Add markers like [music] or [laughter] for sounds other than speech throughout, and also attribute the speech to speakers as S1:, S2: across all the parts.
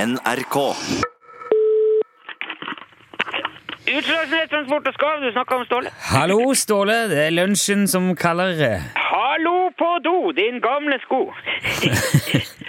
S1: NRK.
S2: Utslagsnes Transport og Skarv, du snakker om Ståle.
S3: Hallo, Ståle. Det er lunsjen som kaller. eh,
S2: Hallo på do, din gamle
S3: [laughs]
S2: sko.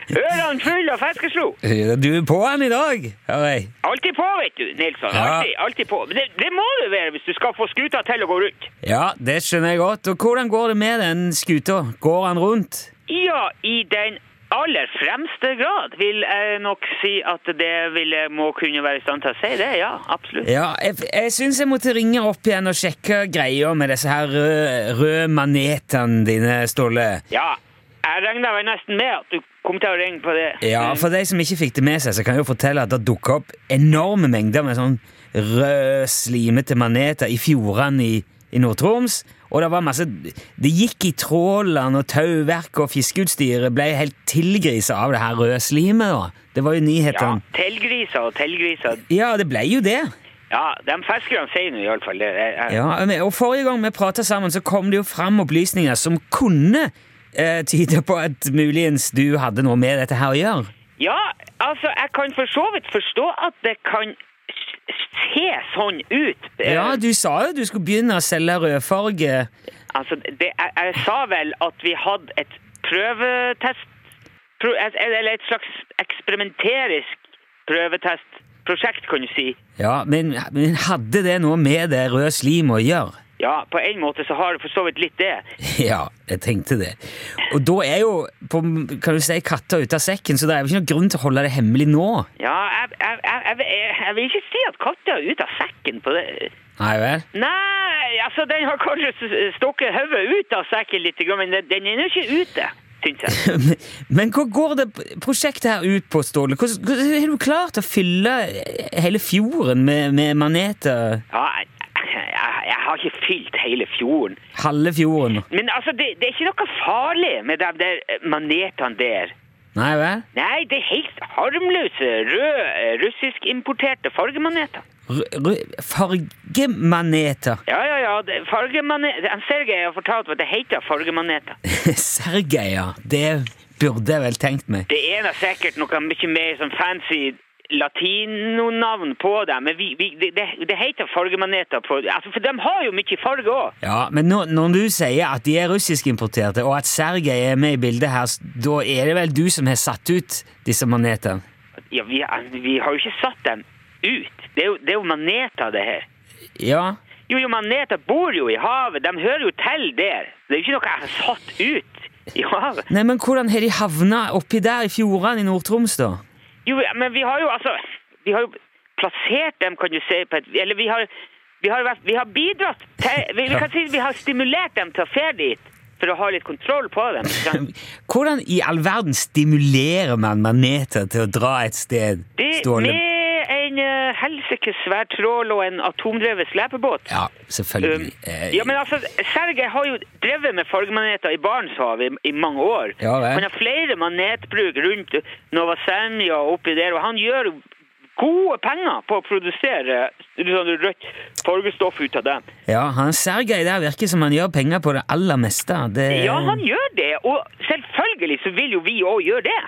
S2: Ørene fulle av fiskeslo.
S3: Eh, Du er på han i dag, hører jeg.
S2: Alltid på, vet du, Nilsson.
S3: Ja.
S2: Alltid, alltid på. Men Det, det må du være hvis du skal få skuta til å gå rundt.
S3: Ja, det skjønner jeg godt. Og hvordan går det med den skuta? Går han rundt?
S2: Ja, i den aller fremste grad vil jeg nok si at det vil jeg må kunne være i stand til å si det. Ja, absolutt.
S3: Ja, jeg, jeg syns jeg måtte ringe opp igjen og sjekke greia med disse her røde, røde manetene dine, Ståle.
S2: Ja, jeg regner vel nesten med at du kom til å ringe på det.
S3: Ja, for de som ikke fikk det med seg, så kan jeg jo fortelle at det dukka opp enorme mengder med sånn rød, slimete maneter i fjordene i, i Nord-Troms. Og det var masse Det gikk i trålene, og tauverket og fiskeutstyret ble helt tilgrisa av det her røde slimet. da. Det var jo
S2: Ja,
S3: nyhetene.
S2: Tilgriser og tilgriser.
S3: Ja. det ble jo det.
S2: Ja, de fiskerne sier nå iallfall det. Jeg- jeg-
S3: Ja, men- Og forrige gang vi prata sammen, så kom det jo fram opplysninger som kunne eh, tyde på at muligens du hadde noe med dette her å gjøre.
S2: Ja, altså, jeg kan for så vidt forstå at det kan s- se sånn ut. Eh,
S3: Ja, du sa jo du skulle begynne å selge rødfarge.
S2: Altså, det, jeg, jeg sa vel at vi hadde et prøvetest... Pro, eller et slags eksperimenterisk prøvetestprosjekt, kan du si.
S3: Ja, men, men hadde det noe med det røde slimet å gjøre? [laughs]
S2: Ja, på en måte så har det for så vidt litt det.
S3: Ja, jeg tenkte det. Og da er jo, på, kan du si, katta ute av sekken, så det er jo ikke noen grunn til å holde det hemmelig nå.
S2: Ja, jeg, jeg, jeg, jeg, jeg, jeg vil ikke si at katta er ute av sekken på det.
S3: Nei vel? [laughs]
S2: Nei, altså, den har kanskje s- stukket hodet ut av sekken litt, grann, men den- den er nå ikke ute, syns jeg.
S3: Men, men hva går det prosjektet her ut på, Ståle? Hvordan, hvordan har du klart å fylle hele fjorden med, med maneter?
S2: Ja, jeg, jeg, jeg har ikke fylt hele fjorden.
S3: Halve fjorden?
S2: Men altså, det, det er ikke noe farlig med de der eh, manetene der.
S3: Nei vel?
S2: Nei, det er helt harmløse, røde, eh, russiskim-importerte fargemaneter.
S3: Rø- rø- Fargemaneter? [laughs]
S2: Ja, ja, ja, det- fargemaneter. En Sergej har fortalt meg at det heter fargemaneter.
S3: Sergej, ja. Det burde jeg vel tenkt meg.
S2: Det ene er sikkert noe mye mer sånn fancy latinonavn på dem, men vi, vi, det, det, det heter fargemaneter på Altså, for de har jo mye farge òg.
S3: Ja, men når, når du sier at de er russiskimporterte, og at Sergej er med i bildet her, s- da er det vel du som har satt ut disse manetene?
S2: Ja, vi, vi har jo ikke satt dem ut. Det er jo, det er jo maneter, det her.
S3: Ja.
S2: Jo, jo, maneter bor jo i havet. De hører jo til der. Det er jo ikke noe jeg har satt ut i havet.
S3: Nei, men hvordan har de havna oppi der i fjordene i Nord-Troms, da?
S2: Jo, men vi har jo altså Vi har jo plassert dem, kan du si, på et Eller vi har, vi har, vært- vi har bidratt til vi, vi kan si vi har stimulert dem til å ferde dit for å ha litt kontroll på dem. ikke sant?
S3: Hvordan i all verden stimulerer man maneter til å dra et sted,
S2: Det
S3: Ståle?
S2: med en eh, helsikes svær trål og en atomdrevet slepebåt
S3: Ja,
S2: Um,
S3: selvfølgelig. Eh,
S2: ja, men altså, Sergej har jo drevet med fargemaneter i Barentshavet i, i mange år.
S3: Ja, vel.
S2: han har flere manetbruk rundt Nova Semja og oppi der, og han gjør jo gode penger på å produsere sånn rødt fargestoff ut av dem.
S3: Eh, ja, han Sergej der virker som han gjør penger på det aller meste. Det,
S2: Ja, han gjør det, og selvfølgelig så vil jo vi òg gjøre det.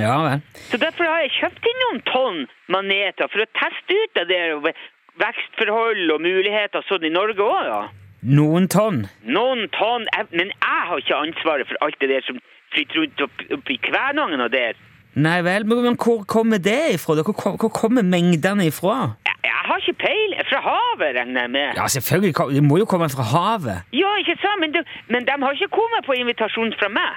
S3: Ja, vel.
S2: Så derfor har jeg kjøpt inn noen tonn maneter for å teste ut det der og ve- vekstforhold og muligheter sånn i Norge òg, da.
S3: Noen tonn.
S2: Noen tonn jeg- Men jeg har ikke ansvaret for alt det der som flytter rundt opp, opp i Kvænangen og der.
S3: Nei vel, men men hvor kommer det ifra? da? Hvor, kom- hvor kommer mengdene ifra?
S2: Jeg, jeg har ikke peil. Fra havet, regner jeg med. Ja,
S3: Ja, selvfølgelig. kom- Det må jo komme fra havet.
S2: ikke sant? Men de, men de har ikke kommet på invitasjon fra meg.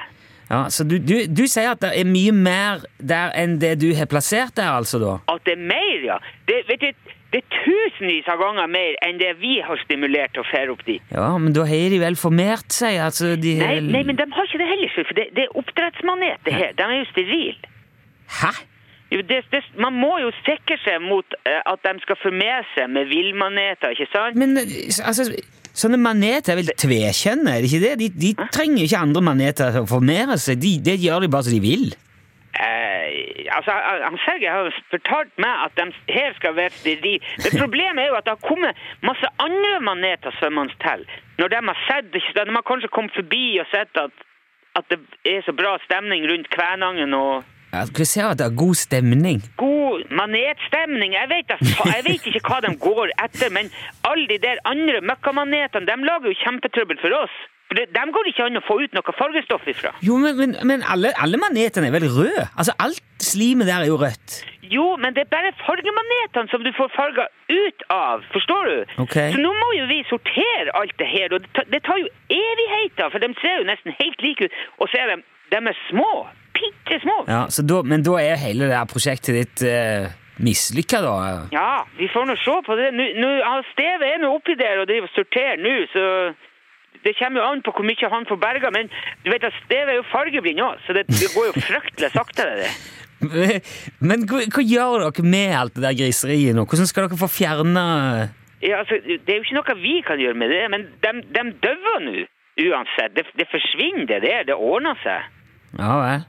S3: Ja, så du, du, du sier at det er mye mer der enn det du har plassert der, altså, da?
S2: At det er mer, ja. Det, vet du, det er tusenvis av ganger mer enn det vi har stimulert til å fære opp dit.
S3: Ja, men da har de vel formert seg? altså de
S2: Nei, nei, men de har ikke det heller, for det, det er oppdrettsmanet, det her. De er jo sterile.
S3: Hæ?
S2: Jo, det, det, man må jo sikre seg mot eh, at de skal formere seg med villmaneter, ikke sant?
S3: Men altså, sånne maneter er vel tvekjønne, er det ikke det? De, de trenger jo ikke andre maneter til å formere seg. De, det gjør de bare som de vil.
S2: Eh, altså, han- han Sergej har fortalt meg at de her skal være steril. Men problemet er jo at det har kommet masse andre maneter svømmende til. Når de har sett, ikke sant, de har kanskje kommet forbi og sett at, at det er så bra stemning rundt Kvænangen og
S3: Ja, du ser at det er god stemning.
S2: god manetstemning. Jeg vet, da fa- jeg vet ikke hva de går etter, men alle de der andre møkkamanetene, de lager jo kjempetrøbbel for oss. For det- dem går ikke an å få ut noe fargestoff ifra.
S3: Jo, men, men, men alle, alle manetene er vel røde? Altså, alt slimet der er jo rødt.
S2: Jo, men det er bare fargemanetene som du får farga ut av, forstår du?
S3: Ok.
S2: Så nå må jo vi sortere alt det her, og det tar, det tar jo evigheter, for de ser jo nesten helt like ut, og så er de, de er små, bitte små. Ja.
S3: Ja, så da, men da er hele det her prosjektet ditt eh, mislykka, da?
S2: vi får nå se på det. Nå, nå- han Steve er nå oppi der og driver og sorterer nå, så det kommer jo an på hvor mye han får berga, men du vet at Steve er jo fargeblind òg, så det, det går jo fryktelig sakte, det der.
S3: Men hva, hva gjør dere med alt det der griseriet nå? Hvordan skal dere få fjerna
S2: Ja, altså, det er jo ikke noe vi kan gjøre med det, men de, de døver nå, uansett. Det, det forsvinner, det der. Det ordner seg.
S3: Ja vel.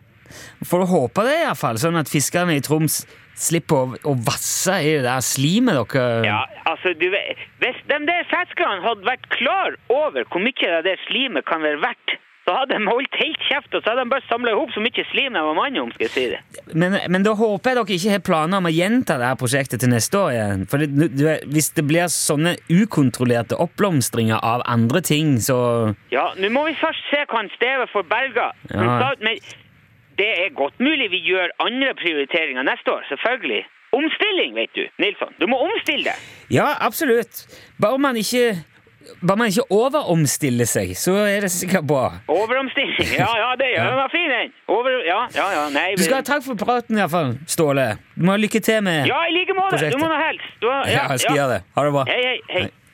S3: Får du håpe det, iallfall, sånn at fiskerne i Troms slipper å, å vasse i det der slimet dere
S2: Ja, altså, du vet, Hvis de der fiskerne hadde vært klar over hvor mye det der slimet kan være verdt, så hadde de holdt helt kjeft, og så hadde de bare samla ihop så mye slim de var mann om, skal jeg si det.
S3: Men, men da håper jeg dere ikke har planer om å gjenta det her prosjektet til neste år igjen. For det, du, du- hvis det blir sånne ukontrollerte oppblomstringer av andre ting, så
S2: Ja, nå må vi først se hva han Steve får berga. Han
S3: Ja.
S2: sa at- Men det er godt mulig vi gjør andre prioriteringer neste år, selvfølgelig. Omstilling, vet du, Nilsson. Du må omstille deg.
S3: Ja, absolutt. Bare man ikke, bare man ikke overomstiller seg, så er det sikkert bra.
S2: Overomstilling. Ja, ja, det gjør den var fin, den. Over, ja, ja, ja, nei.
S3: Du skal ha takk for praten, iallfall, Ståle. Du må ha lykke til med
S2: Ja, i like måte. Du må nå helst. Du, har-
S3: Ja, jeg skal gjøre det. Ha det bra.
S2: Hei, hei, hei.